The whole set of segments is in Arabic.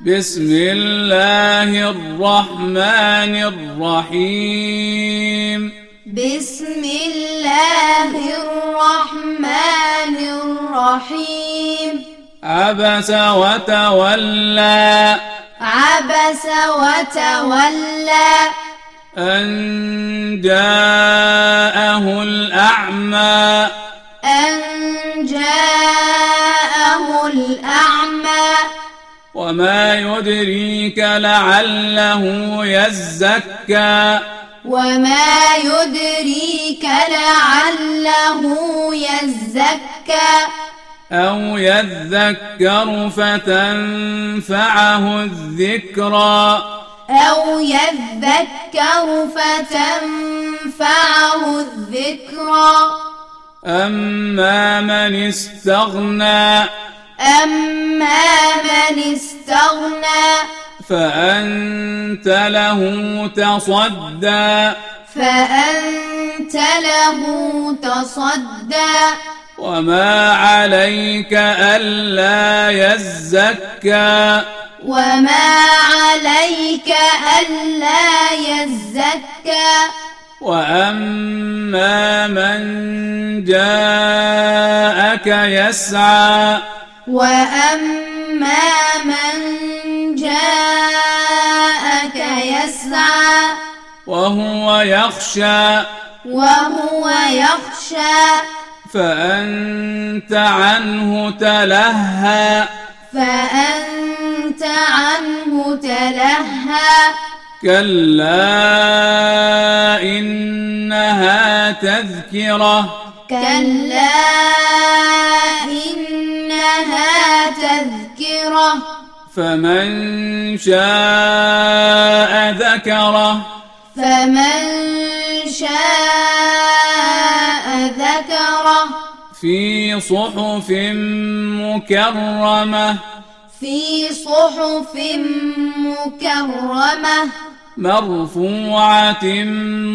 بسم الله الرحمن الرحيم بسم الله الرحمن الرحيم عبس وتولى عبس وتولى أن جاءه الأعمى أن جاءه الأعمى وما يدريك لعله يزكى وما يدريك لعله يزكى أو يذكر فتنفعه الذكرى أو يذكر فتنفعه الذكرى أما من استغنى أما من استغنى فأنت له تصدى فأنت له تصدى وما عليك ألا يزكى وما عليك ألا يزكى وأما من جاءك يسعى وأما من جاءك يسعى وهو يخشى وهو يخشى فأنت عنه تلهى فأنت عنه تلهى كلا إنها تذكرة كلا إنها تذكرة فمن شاء ذكره فمن شاء ذكره في صحف مكرمة في صحف مكرمة مرفوعة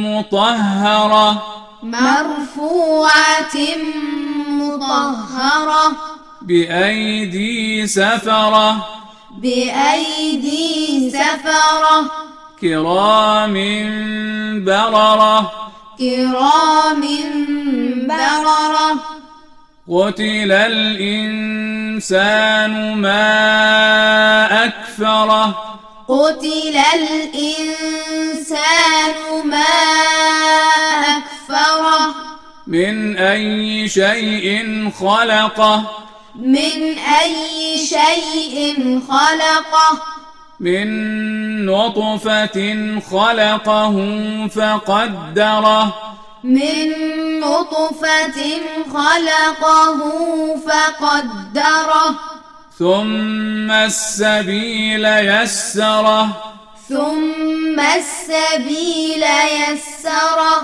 مطهرة مرفوعة مطهرة بأيدي سفرة بأيدي سفرة كرام بررة كرام بررة قتل الإنسان ما أكفره قتل الإنسان ما أكفره من أي شيء خلقه من أي شيء خلقه من نطفة خلقه فقدره من نطفة خلقه فقدره ثم السبيل يسره ثم السبيل يسره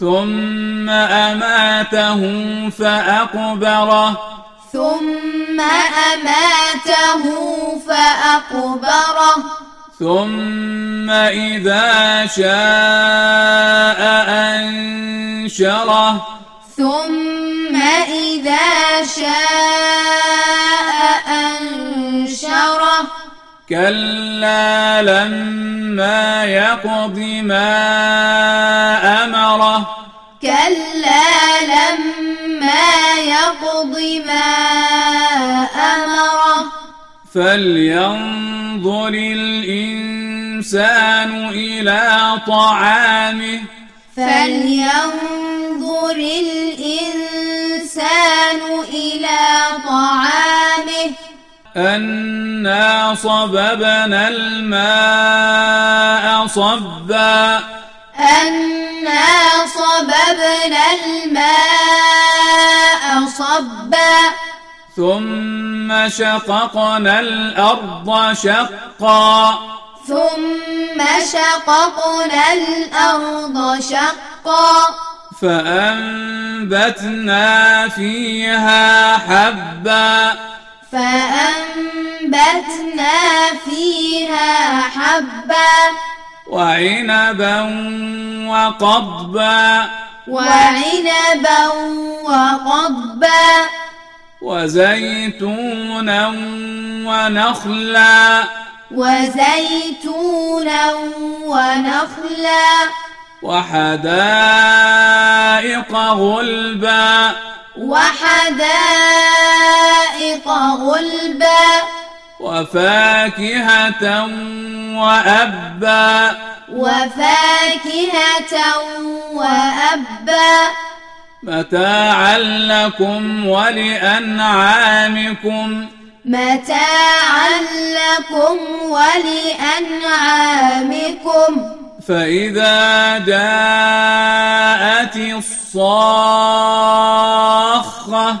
ثم أماته فأقبره ثم أماته فأقبره ثم إذا شاء أنشره ثم إذا شاء أنشره كلا لما يقض ما أمره كلا لما يقض ما أمره فلينظر الإنسان إلى طعامه فلينظر الإنسان إلى طعامه أنا صببنا الماء صبا أنا صببنا الماء صبا ثم شققنا الأرض شقا ثم شققنا الأرض شقا فأنبتنا فيها حبا فأنبتنا فيها حبا وعنبا وقضبا وعنبا وقضبا وزيتونا ونخلا وزيتونا ونخلا وحدائق غلبا وحدائق غلبا وفاكهة وأبا وفاكهة وأبا متاعا لكم ولأنعامكم متاعا لكم ولأنعامكم فإذا جاءت الصاخة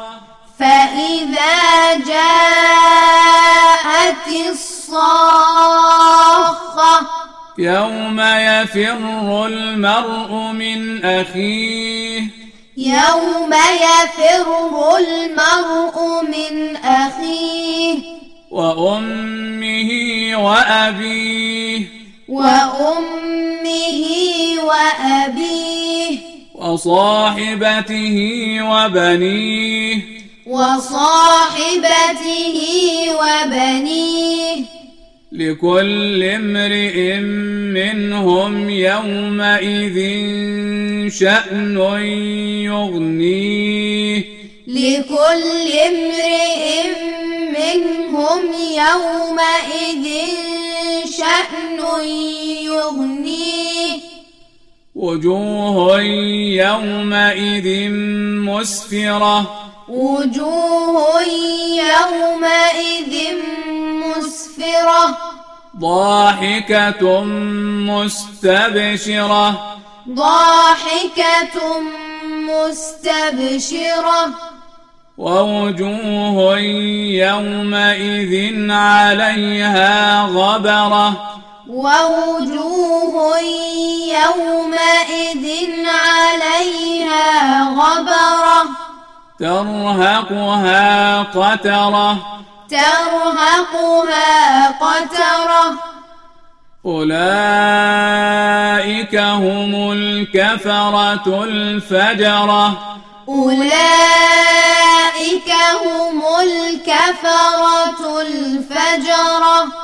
فإذا جاءت الصاخة يوم يفر المرء من أخيه يوم يفر المرء من أخيه وأمه وأبيه وأمه وأبيه وصاحبته وبنيه وصاحبته وبنيه لكل امرئ منهم يومئذ شأن يغنيه لكل امرئ منهم يومئذ شأن يغنيه وجوه يومئذ مسفرة وجوه يومئذ مسفرة ضاحكة مستبشرة ضاحكة مستبشرة ووجوه يومئذ عليها غبرة ووجوه يومئذ عليها غبرة ترهقها قترة ترهقها قترة أولئك هم الكفرة الفجرة أولئك هم الكفرة الفجرة